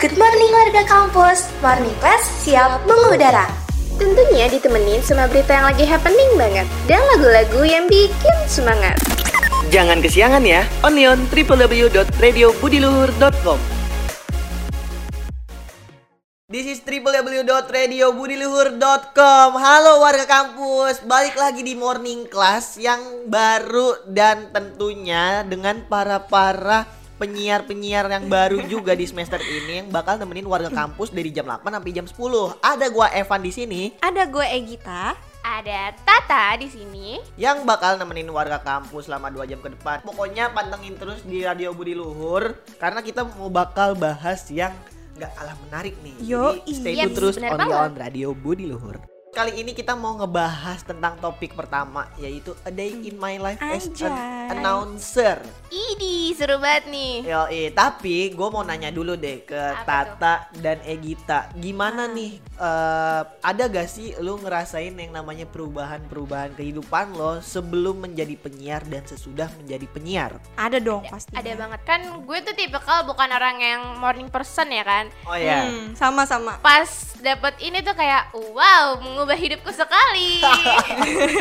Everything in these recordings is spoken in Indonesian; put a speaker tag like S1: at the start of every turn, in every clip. S1: Good morning warga kampus, Morning Class siap mengudara.
S2: Tentunya ditemenin sama berita yang lagi happening banget dan lagu-lagu yang bikin semangat.
S3: Jangan kesiangan ya, Onion www.radiobudiluhur.com
S4: This is www.radiobudiluhur.com Halo warga kampus Balik lagi di morning class Yang baru dan tentunya Dengan para-para penyiar-penyiar yang baru juga di semester ini Yang bakal nemenin warga kampus dari jam 8 sampai jam 10 Ada gua Evan di sini
S5: Ada gue Egita.
S2: Ada Tata di sini.
S4: Yang bakal nemenin warga kampus selama 2 jam ke depan Pokoknya pantengin terus di Radio Budi Luhur Karena kita mau bakal bahas yang nggak kalah menarik nih.
S5: Yo,
S4: Jadi stay
S2: iya,
S4: tune terus
S2: bener
S4: only
S2: banget.
S4: on Radio Budi Luhur. Kali ini kita mau ngebahas tentang topik pertama yaitu a day in my life as an
S5: Anjay.
S4: announcer.
S2: Idi, seru banget nih.
S4: Yoi, tapi gue mau nanya dulu deh ke
S2: Apa Ah.
S4: Tata dan Egita, gimana nih? eh, ada gak sih lu ngerasain yang namanya perubahan-perubahan kehidupan lo sebelum menjadi penyiar dan sesudah menjadi penyiar?
S5: Ada dong pasti.
S2: Ada banget kan gue tuh tipikal bukan orang yang morning person ya kan.
S4: Oh ya.
S5: Hmm, sama-sama.
S2: Pas dapet ini tuh kayak wow, mengubah hidupku sekali.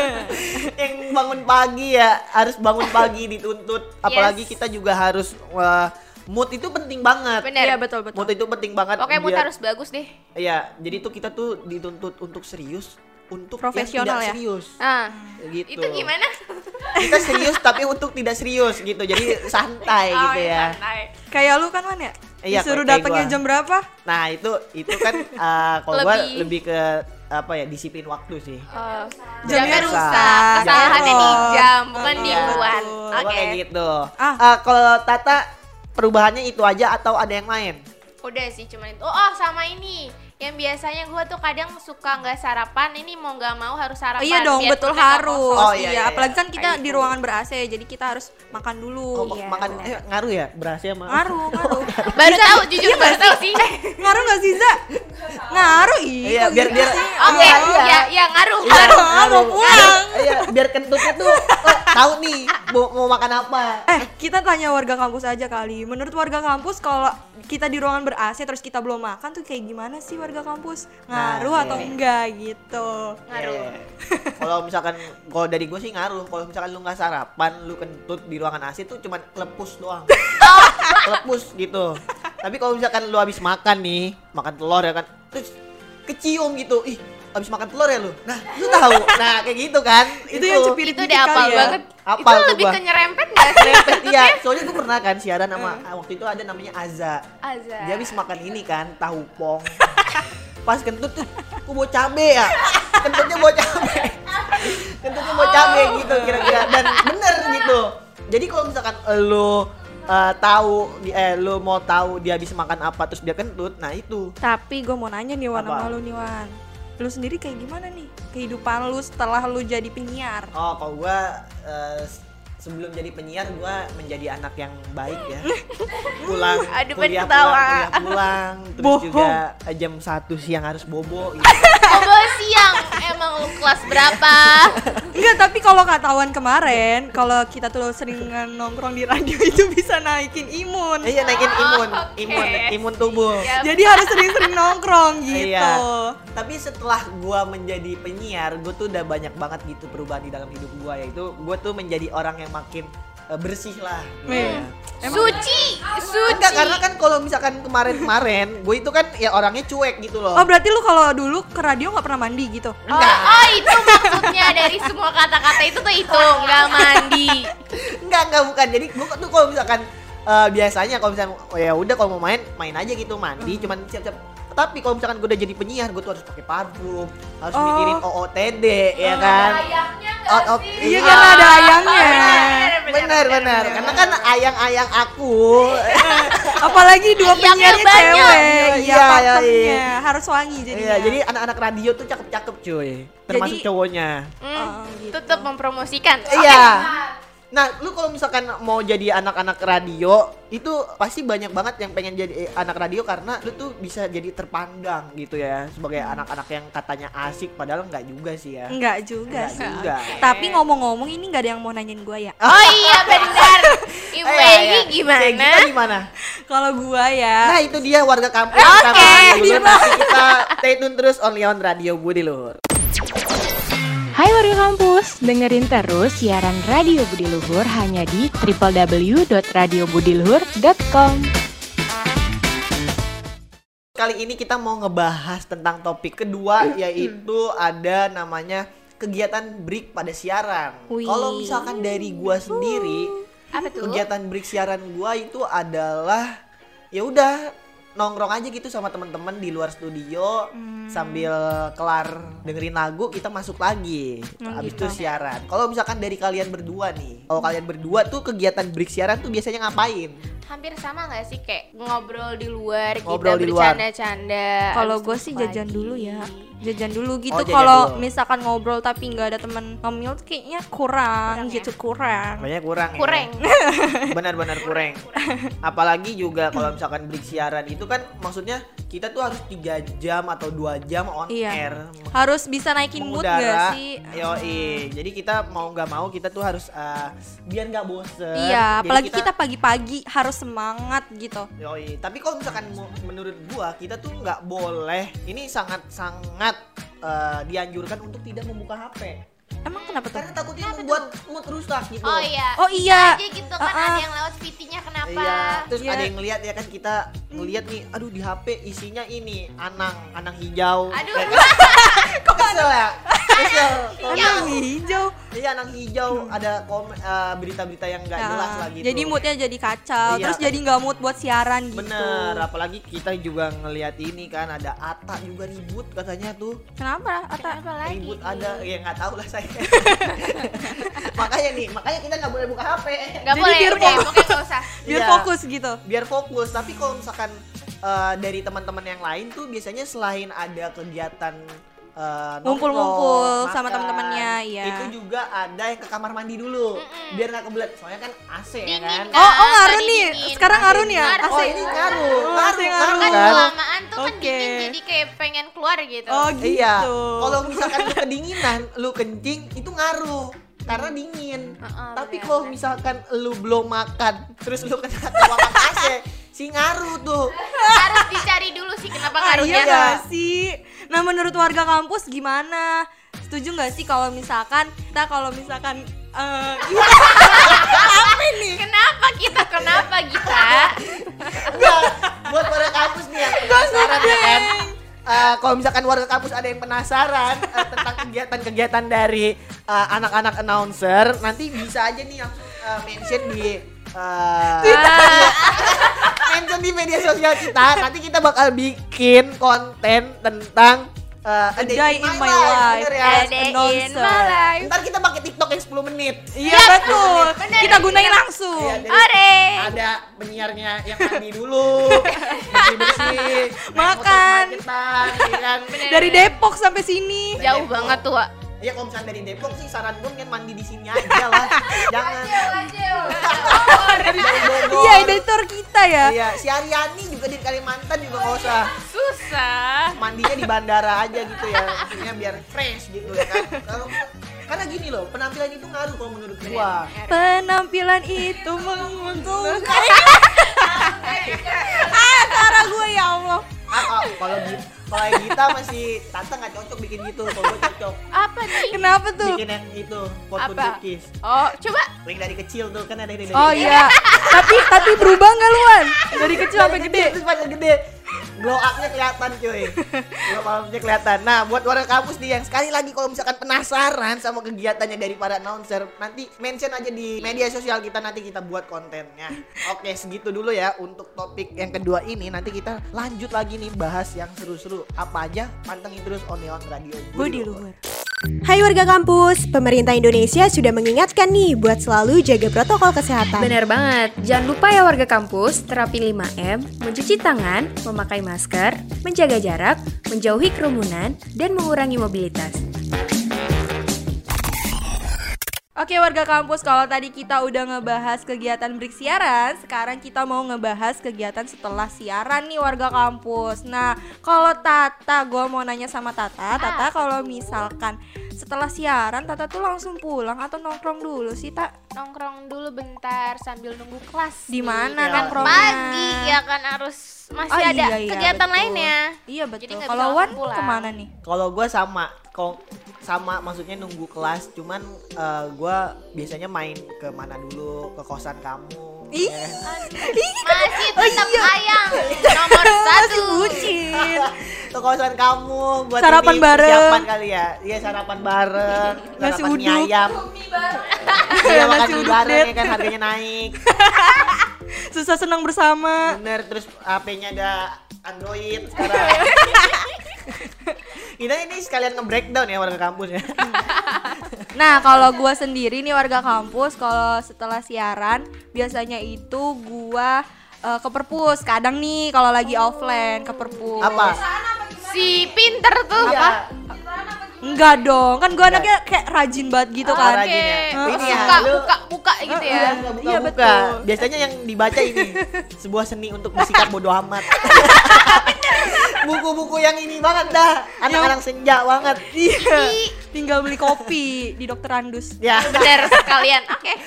S4: yang bangun pagi ya harus bangun pagi dituntut apalagi
S2: Yes.
S4: kita juga harus wah, mood itu penting banget
S2: Bener.
S5: Iya betul betul.
S4: mood itu penting banget
S2: Oke, mood
S4: biar-
S2: harus bagus deh.
S4: ya jadi tuh kita tuh dituntut untuk serius untuk
S5: Profesional
S4: yang tidak
S5: ya?
S4: serius
S2: Ah,
S4: gitu
S2: itu gimana?
S4: kita serius tapi untuk tidak serius gitu jadi santai
S2: Oh,
S4: gitu ya
S2: santai.
S5: Kayak lu kan man ya?
S4: Iya,
S5: Disuruh
S4: kayak- kayak
S5: datangnya
S4: gua.
S5: jam berapa?
S4: nah itu itu kan eh, kalau gua
S2: Lebih.
S4: lebih ke apa ya disiplin waktu sih
S2: Oh,
S5: Jamnya
S2: jamnya
S4: rusak. Jamnya
S2: rusak.
S5: Iya,
S2: Kesalahannya di
S5: rusak.
S2: jam, bukan di
S4: gitu. Iya,
S2: bulan.
S5: betul.
S4: Gua
S2: Oke.
S4: kayak gitu
S5: Ah.
S4: Eh, kalau Tata perubahannya itu aja atau ada yang lain
S2: Udah sih cuman itu. Oh, oh, sama ini. Yang biasanya gua tuh kadang suka nggak sarapan, ini mau nggak mau harus sarapan.
S5: iya dong,
S2: biar
S5: betul
S2: perutnya nggak
S5: harus.
S2: kosong.
S4: Oh, iya,
S5: iya,
S4: iya,
S5: apalagi
S4: iya.
S5: kan kita
S2: Kayak
S5: di
S2: gitu.
S5: ruangan ber-AC jadi kita harus makan dulu.
S4: Oh, ma-
S5: Iya,
S4: makan
S5: bener.
S4: eh, ngaruh ya berasnya sama
S5: ngaruh, ngaruh.
S2: Baru
S5: Iya.
S2: tahu jujur baru tahu sih.
S5: Eh, ngaruh gak sih, Za? Ngaruh, iya.
S4: Iya,
S5: kok
S4: biar
S5: gitu
S4: biar
S5: sih?
S2: Oke,
S4: iya, iya.
S2: ya ya ngaruh.
S4: Iya,
S2: ngaruh.
S5: ngaruh, pulang.
S4: Iya, biar kentutnya tuh oh, tahu nih mau, mau makan apa.
S5: Eh, kita tanya warga kampus aja kali. Menurut warga kampus kalau kita di ruangan ber-AC terus kita belum makan tuh kayak gimana sih warga kampus? Ngaruh
S4: Nah,
S5: atau
S4: iya.
S5: enggak gitu?
S2: Ngaruh.
S4: Iya. Kalau misalkan kalau dari gue sih ngaruh. Kalau misalkan lu nggak sarapan, lu kentut di ruangan AC tuh cuman lepus doang. lepus gitu. Tapi kalau misalkan lu habis makan nih, makan telur ya kan, terus kecium gitu. Ih, habis makan telur ya lu. Nah, lu tahu. Nah, kayak gitu kan.
S5: Itu yang cepirit
S2: Itu
S5: dikit
S2: udah apal
S5: kali ya.
S2: banget.
S4: Apal
S2: itu
S4: tuh
S2: lebih
S4: gua.
S2: ke nyerempet nggak sih?
S4: Repet, iya, soalnya gue pernah kan siaran sama
S2: Hmm.
S4: waktu itu ada namanya Aza.
S2: Azan.
S4: Dia habis makan ini kan, tahu pong. Pas kentut tuh, kok bawa cabe ya? Kentutnya bawa cabe. Kentutnya bawa cabe
S2: Oh.
S4: gitu kira-kira dan bener gitu. Jadi kalau misalkan lu eh, tahu di- eh lu mau tahu dia habis makan apa terus dia kentut, nah itu.
S5: Tapi gue mau nanya nih Wan
S4: Apa?
S5: sama lu nih Wan Lu sendiri kayak gimana nih kehidupan lu setelah lu jadi penyiar?
S4: Oh, kalau gua eh, s- sebelum jadi penyiar gua menjadi anak yang baik ya. Pulang
S2: Aduh,
S4: kuliah, pulang,
S2: pengen ketawa.
S4: kuliah pulang, terus
S5: Bohong.
S4: juga eh, jam 1 siang harus bobo gitu.
S2: Ngobrol siang. Emang lu kelas berapa?
S5: Enggak, tapi kalau ketahuan kemarin Kalau kita tuh sering nongkrong di radio itu bisa naikin imun
S4: Eh, Iya, naikin imun,
S2: oke.
S4: imun, imun tubuh.
S2: Ya,
S5: Jadi harus sering-sering nongkrong gitu
S4: Iya. Tapi setelah gua menjadi penyiar, gua tuh udah banyak banget gitu perubahan di dalam hidup gua yaitu gua tuh menjadi orang yang makin eh, bersih lah.
S5: Iya.
S2: suci, suci.
S4: Enggak, karena kan kalau misalkan kemarin-kemarin, gue itu kan ya orangnya cuek gitu loh.
S5: Oh berarti lu kalau dulu ke radio nggak pernah mandi gitu?
S2: Oh, oh, itu maksudnya dari semua kata-kata itu tuh itu nggak mandi.
S4: Enggak, enggak bukan. Jadi gua tuh kalau misalkan eh, biasanya kalau misalkan oh, ya udah kalau mau main main aja gitu mandi
S5: Hmm.
S4: cuman siap-siap. Tapi kalau misalkan gue udah jadi penyiar, gue tuh harus pakai parfum, harus
S5: Oh.
S4: mikirin OOTD ya
S2: Oh,
S4: kan.
S2: iya, Ayamnya
S4: Out of-
S5: Iya karena
S4: Ah,
S5: ada ayamnya
S4: Benar, benar. Karena kan ayang-ayang aku.
S5: Apalagi dua
S2: Ayamnya
S5: penyiarnya
S2: banyak.
S5: cewek
S4: Iya,
S5: Iya
S4: iya,
S5: patengnya
S4: iya.
S5: Harus wangi jadi
S4: Iya, jadi anak-anak radio tuh cakep-cakep cuy. Termasuk
S5: Jadi-
S4: cowoknya.
S5: Oh, gitu.
S2: Tetap Hmm, mempromosikan.
S4: Iya. Nah, lu kalau misalkan mau jadi anak-anak radio, itu pasti banyak banget yang pengen jadi eh, anak radio karena lu tuh bisa jadi terpandang gitu ya sebagai
S5: Hmm.
S4: anak-anak yang katanya asik padahal nggak juga sih ya.
S5: Enggak juga
S4: Nggak
S5: sih
S4: juga. Iya.
S5: Tapi ngomong-ngomong ini nggak ada yang mau nanyain gue ya
S2: Oh iya benar. Ibu
S4: Eh, ya,
S2: Egy
S4: ya.
S2: gimana?
S4: Kayak kita gimana?
S5: Kalau gua ya,
S4: Nah itu dia warga kampung
S5: Oke,
S4: dulu
S5: Dimas.
S4: Nanti kita stay tune terus only on Radio Budi Luhur
S6: Hai warga kampus, dengerin terus siaran Radio Budi Luhur hanya di www.radiobudiluhur.com.
S4: Kali ini kita mau ngebahas tentang topik kedua yaitu ada namanya kegiatan break pada siaran.
S5: Wih.
S4: Kalau misalkan dari gua sendiri,
S2: Apa tuh?
S4: kegiatan break siaran gua itu adalah ya udah nongkrong aja gitu sama teman-teman di luar studio
S2: Hmm.
S4: sambil kelar dengerin lagu kita masuk lagi
S2: Oh,
S4: habis
S2: gitu.
S4: itu siaran kalau misalkan dari kalian berdua nih kalau kalian berdua tuh kegiatan break siaran tuh biasanya ngapain
S2: Hampir sama nggak sih kayak ngobrol di luar,
S4: Ngobrol
S2: kita
S4: di luar.
S2: bercanda-canda.
S5: kalau
S2: habis
S5: gua
S2: itu
S5: sih
S2: masuk
S5: jajan
S2: lagi.
S5: dulu ya. Jajan dulu gitu
S4: Oh, jajan
S5: kalau
S4: dulu.
S5: misalkan ngobrol tapi nggak ada temen ngemil tuh kayaknya kurang,
S2: Kurang ya?
S5: gitu kurang.
S4: banyak kurang ya?
S2: Kurang.
S4: benar-benar kurang. Apalagi juga kalau misalkan beli siaran itu kan maksudnya kita tuh harus 3 jam atau 2 jam on
S5: Iya.
S4: air.
S5: Harus bisa naikin mood
S4: mengudara.
S5: gak sih?
S4: Yoi. Jadi kita mau nggak mau kita tuh harus eh, biar nggak bosen.
S5: Iya,
S4: Jadi
S5: apalagi kita pagi-pagi harus semangat gitu.
S4: Yoi. Tapi kalau misalkan mu- menurut gua kita tuh nggak boleh. Ini sangat-sangat eh, dianjurkan untuk tidak membuka HP.
S5: Emang kenapa tuh?
S4: Karena takutnya membuat mood rusak gitu.
S2: Oh iya.
S5: Oh iya.
S2: Aja gitu kan
S5: Ah, ah.
S2: ada yang lewat VT-nya kenapa?
S4: Iya, terus
S5: Iya.
S4: ada yang ngeliat ya kan kita ngeliat nih, aduh di HP isinya ini anang, anang hijau.
S2: Aduh.
S4: Ya kan? Kesel ya? Kesel.
S2: Iya.
S5: Warna hijau.
S4: Iya anang hijau ada kom- eh, berita-berita yang nggak
S5: Nah,
S4: jelas gitu. lagi.
S5: Jadi moodnya jadi kacau,
S4: Iya.
S5: terus jadi nggak mood buat siaran gitu.
S4: Bener, apalagi kita juga ngeliat ini kan ada Ata juga ribut katanya tuh
S5: Kenapa? Ata?
S2: Kenapa lagi?
S4: ribut ada ya nggak tahu lah saya makanya nih makanya kita nggak boleh buka HP
S2: Gak
S5: Jadi
S2: boleh,
S5: biar Ya
S2: udah,
S5: fokus.
S2: pokoknya gak usah.
S5: Biar
S4: Iya.
S5: fokus gitu.
S4: biar fokus tapi kalau misalkan eh, dari teman-teman yang lain tuh biasanya selain ada kegiatan eh, nongkrong,
S5: Ngumpul-ngumpul sama
S4: makan,
S5: teman-temannya, iya.
S4: itu juga ada yang ke kamar mandi dulu biar nggak kebelet soalnya kan AC ya
S2: Dingin
S4: kan
S2: kan?
S5: Oh, oh ngaruh
S2: tadi
S5: nih.
S2: dingin.
S5: Sekarang ngaruh nih ya.
S2: Ngaruh.
S4: oh
S5: AC.
S4: ini ngaruh
S5: Oh,
S4: ngaruh ngaruh
S5: AC ngaruh.
S2: Kan
S4: kan?
S2: kelamaan tuh kan
S5: Oke.
S2: dingin jadi kayak pengen keluar gitu.
S5: Oh gitu.
S4: iya kalau misalkan lu kedinginan lu kencing itu ngaruh karena dingin
S2: Heeh,
S4: tapi
S2: bener,
S4: kalau
S2: bener.
S4: misalkan lu belum makan terus lu kena kewalahan AC si ngaruh tuh
S2: Harus dicari dulu sih kenapa
S5: Ah, iya
S2: ngaruhnya.
S5: nggak sih? Nah menurut warga kampus gimana? Setuju nggak sih kalau misalkan kita kalau misalkan eh, iya,
S2: Kenapa kita? Kenapa kita?
S4: Enggak, buat warga kampus nih yang penasaran ya kan. Eh, kalau misalkan warga kampus ada yang penasaran eh, tentang kegiatan-kegiatan dari eh, anak-anak announcer, nanti bisa aja nih langsung eh, mention di eh, mention di media sosial kita. Nanti kita bakal bikin konten tentang eh, A Day
S5: Day in my life.
S4: bener ya.
S5: As
S2: Ada in
S5: announcer.
S2: my life.
S4: Ntar kita pakai TikTok yang 10 menit.
S5: Iya betul.
S2: bener,
S5: kita gunain
S2: bener.
S5: langsung.
S4: Iya, jadi
S2: Ore.
S4: ada penyiarnya yang mandi dulu, bersih bersih,
S5: Makan.
S4: kan.
S5: Dari Depok sampai sini.
S2: Jauh banget tuh. Wak.
S4: Ya kalau misalnya dari Depok sih saran gue kan mandi di sini aja lah, jangan. Kan Dari Bogor.
S5: Iya editor kita ya.
S4: Iya, si Ariani juga di Kalimantan juga nggak usah
S2: Susah.
S4: mandinya di bandara aja gitu ya, maksudnya biar fresh gitu ya kan. Kalau karena gini loh, penampilan itu ngaruh kalau menurut gua.
S5: Penampilan itu menguntungkan. ah, cara gue ya Allah.
S4: Ah, ah, kalau Gi- kalau kita masih Tata nggak cocok bikin gitu, kalau gue cocok.
S2: Apa nih?
S5: Kenapa tuh?
S4: bikin yang itu foto
S2: Apa?
S4: cookies
S2: Oh, coba
S4: yang dari kecil tuh kan ada yang dari
S5: Oh iya. tapi tapi berubah nggak lu, Wan? Dari kecil sampai gede.
S4: terus pada gede glow up-nya kelihatan cuy glow up-nya kelihatan nah buat warga kampus nih yang sekali lagi kalau misalkan penasaran sama kegiatannya dari para announcer nanti mention aja di media sosial kita nanti kita buat kontennya oke segitu dulu ya untuk topik yang kedua ini nanti kita lanjut lagi nih bahas yang seru-seru apa aja pantengin terus Oneon Radio
S5: Budi luhur.
S7: Hai warga kampus, pemerintah Indonesia sudah mengingatkan nih buat selalu jaga protokol kesehatan.
S8: Benar banget. Jangan lupa ya warga kampus, terapin 5M, mencuci tangan, memakai masker, menjaga jarak, menjauhi kerumunan, dan mengurangi mobilitas.
S5: Oke warga kampus, kalau tadi kita udah ngebahas kegiatan break siaran, sekarang kita mau ngebahas kegiatan setelah siaran nih warga
S2: Ah.
S5: kampus. Nah, kalau Tata, gue mau nanya sama Tata, Tata kalau misalkan setelah siaran Tata tuh langsung pulang atau nongkrong dulu sih tak
S2: nongkrong dulu bentar sambil nunggu kelas.
S5: di mana
S4: Iya.
S5: nongkrongnya
S2: Kan Pagi ya kan harus masih
S5: Oh,
S2: ada
S5: iya, iya,
S2: kegiatan
S5: betul.
S2: lainnya.
S5: iya
S2: Jadi
S5: betul
S2: nggak bisa
S5: kalau Wan
S2: langsung pulang.
S5: kemana nih
S4: Kalau gue sama, kok sama maksudnya nunggu kelas, cuman eh, gua biasanya main ke mana dulu, ke kosan kamu.
S5: Ih.
S4: ya.
S2: Masih tetap
S5: Oh, iya.
S2: ayang nomor satu.
S5: bucin
S4: Ya. Ke kosan kamu, gua
S5: Sarapan
S4: titip
S5: bareng.
S4: persiapan kali ya. Iya sarapan bareng,
S5: Nasi
S4: sarapan mie
S5: uduk.
S4: ayam. Iya
S5: Iya,
S4: makan
S5: nasi
S4: mie
S5: uduk,
S4: bareng ya
S5: Det.
S4: kan harganya naik.
S5: susah senang bersama
S4: Bener, terus HP-nya ada Android sekarang. Kita ini sekalian nge-breakdown ya warga kampus ya.
S5: nah kalau gua sendiri nih warga kampus kalau setelah siaran biasanya itu gua eh, ke perpus kadang nih kalau lagi offline ke perpus
S4: Apa?
S2: Si pinter tuh.
S5: Iya.
S4: Apa?
S5: Enggak dong, kan gue anaknya kayak rajin banget
S2: Ah,
S5: gitu
S4: Oh,
S5: kan
S4: rajin ya.
S2: Oke.
S4: Ini ya,
S2: Buka,
S4: lu-
S2: buka, buka gitu ya.
S4: Iya, buka, buka,
S5: Iya,
S4: buka.
S5: betul.
S4: Biasanya yang dibaca ini sebuah seni untuk bersikap bodoh amat. Buku-buku yang ini banget dah, anak-anak senja banget.
S5: Iya, tinggal beli kopi di dokter Andus
S4: Ya,
S2: Bener sekalian. Oke.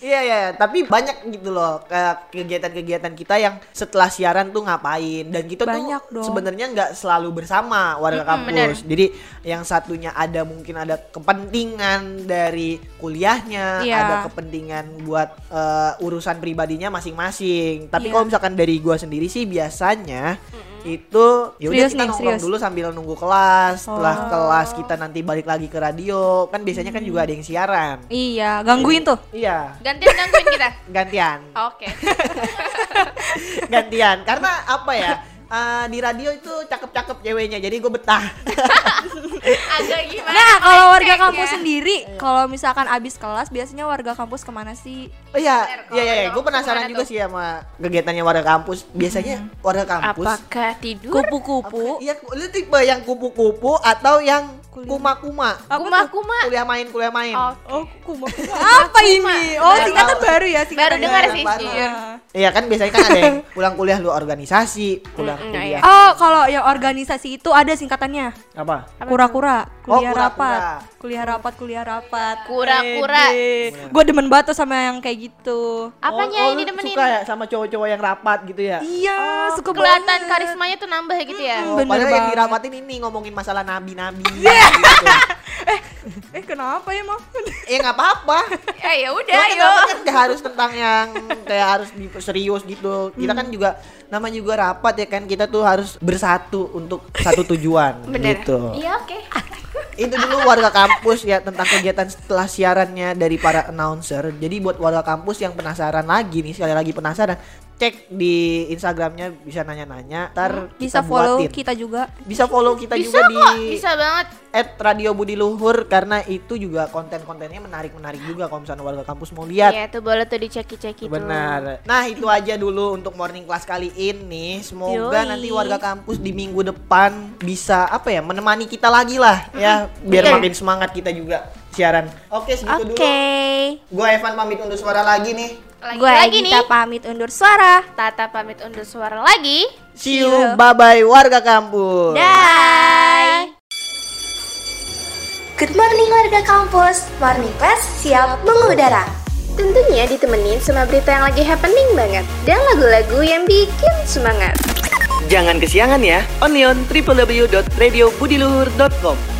S4: iya ya. Tapi banyak gitu loh kayak kegiatan-kegiatan kita yang setelah siaran tuh ngapain dan kita
S5: Banyak
S4: tuh
S5: dong.
S4: sebenarnya nggak selalu bersama warga kampus. Jadi yang satunya ada mungkin ada kepentingan dari kuliahnya,
S5: Iya.
S4: ada kepentingan buat eh, urusan pribadinya masing-masing. Tapi
S5: Iya.
S4: kalau misalkan dari gua sendiri sih biasanya itu ya udah
S5: Serius
S4: kita
S5: nih,
S4: nongkrong
S5: serius. Oh.
S4: dulu sambil nunggu kelas. Setelah kelas kita nanti balik lagi ke radio. Kan biasanya kan juga ada yang siaran.
S5: Iya, gangguin tuh
S4: Iya,
S2: Gantian gangguin kita.
S4: gantian.
S2: Oke.
S4: gantian karena apa ya eh, di radio itu cakep-cakep ceweknya jadi gue betah
S2: Agak gimana?
S5: Nah, kalau warga
S2: Cek
S5: kampus
S2: ya.
S5: sendiri, kalau misalkan abis kelas, biasanya warga kampus kemana sih?
S4: Oh iya
S2: Bener, kalau
S4: iya iya
S2: warga
S4: gue
S2: kampus
S4: penasaran
S2: gimana
S4: juga
S2: tuh? Mm-hmm.
S4: sih sama kegiatannya warga kampus biasanya warga kampus
S2: Apakah tidur?
S5: Kupu-kupu.
S4: iya lu tipe yang kupu-kupu atau yang kuma-kuma
S2: Kuma-kuma.
S4: kuliah main kuliah main
S2: Oke.
S5: Oh, kupu Apa ini? Oh,
S4: Nggak
S5: singkatan
S4: tahu.
S5: baru ya, singkatan
S2: Baru dengar
S5: baru.
S2: sih.
S4: baru.
S2: Sir.
S4: Iya kan biasanya kan ada yang pulang kuliah lu organisasi, pulang kuliah
S2: iya.
S5: Oh, kalau yang organisasi itu ada singkatannya.
S2: Oh.
S4: apa?
S5: Kura-kura,
S4: Oh,
S5: kuliah
S4: kura-kura.
S5: rapat, kuliah rapat, kuliah rapat.
S2: Kura-kura.
S5: Gue demen banget tuh sama yang kayak gitu.
S2: Apanya
S4: Oh, oh,
S2: ini
S4: lu
S2: demenin?
S4: Suka ya sama cowok-cowok yang rapat gitu ya?
S5: Iya, suka
S2: Kelihatan
S5: banget.
S2: karismanya tuh nambah gitu ya.
S4: Oh,
S5: Bener
S4: padahal yang
S5: banget.
S4: dirapatin ini ngomongin masalah nabi-nabi
S2: Iya.
S4: gitu.
S5: Eh, kenapa emang?
S4: Ya nggak apa-apa.
S2: Eh ya udah
S4: Cuma
S2: yuk.
S4: kenapa kan nggak harus tentang yang kayak harus di- serius gitu. Kita
S2: Hmm.
S4: kan juga namanya juga rapat ya kan kita tuh harus bersatu untuk satu tujuan
S2: Bener.
S4: gitu.
S2: Iya oke.
S4: Itu dulu warga kampus ya tentang kegiatan setelah siarannya dari para announcer. Jadi buat warga kampus yang penasaran lagi nih sekali lagi penasaran cek di Instagramnya bisa nanya-nanya.
S2: Hmm,
S4: Ntar
S5: Bisa
S4: kita
S5: follow
S4: buatin.
S5: kita juga.
S4: Bisa follow kita
S2: Bisa
S4: juga
S2: kok,
S4: di
S2: bisa banget.
S4: at Radio Budi Luhur karena itu juga konten-kontennya menarik-menarik juga kalau misalnya warga kampus mau lihat.
S2: Iya tuh boleh tuh
S4: gitu.
S2: diceki-ceki tuh.
S4: Benar. Nah, itu aja dulu untuk morning class kali ini. Semoga
S5: Yoi.
S4: nanti warga kampus di minggu depan bisa apa ya, menemani kita lagi lah ya, biar
S2: Betul.
S4: makin semangat kita juga siaran. Oke, segitu dulu. Gua Evan pamit undur suara lagi nih.
S2: Lagi
S5: Gue
S2: lagi nih.
S5: Gita pamit undur suara.
S2: Tata pamit undur suara lagi.
S4: See you, bye-bye warga kampus.
S5: Bye.
S1: Good morning warga kampus, Morning Class siap mengudara.
S8: Tentunya ditemenin sama berita yang lagi happening banget dan lagu-lagu yang bikin semangat.
S3: Jangan kesiangan ya. Onion www.radiobudiluhur.com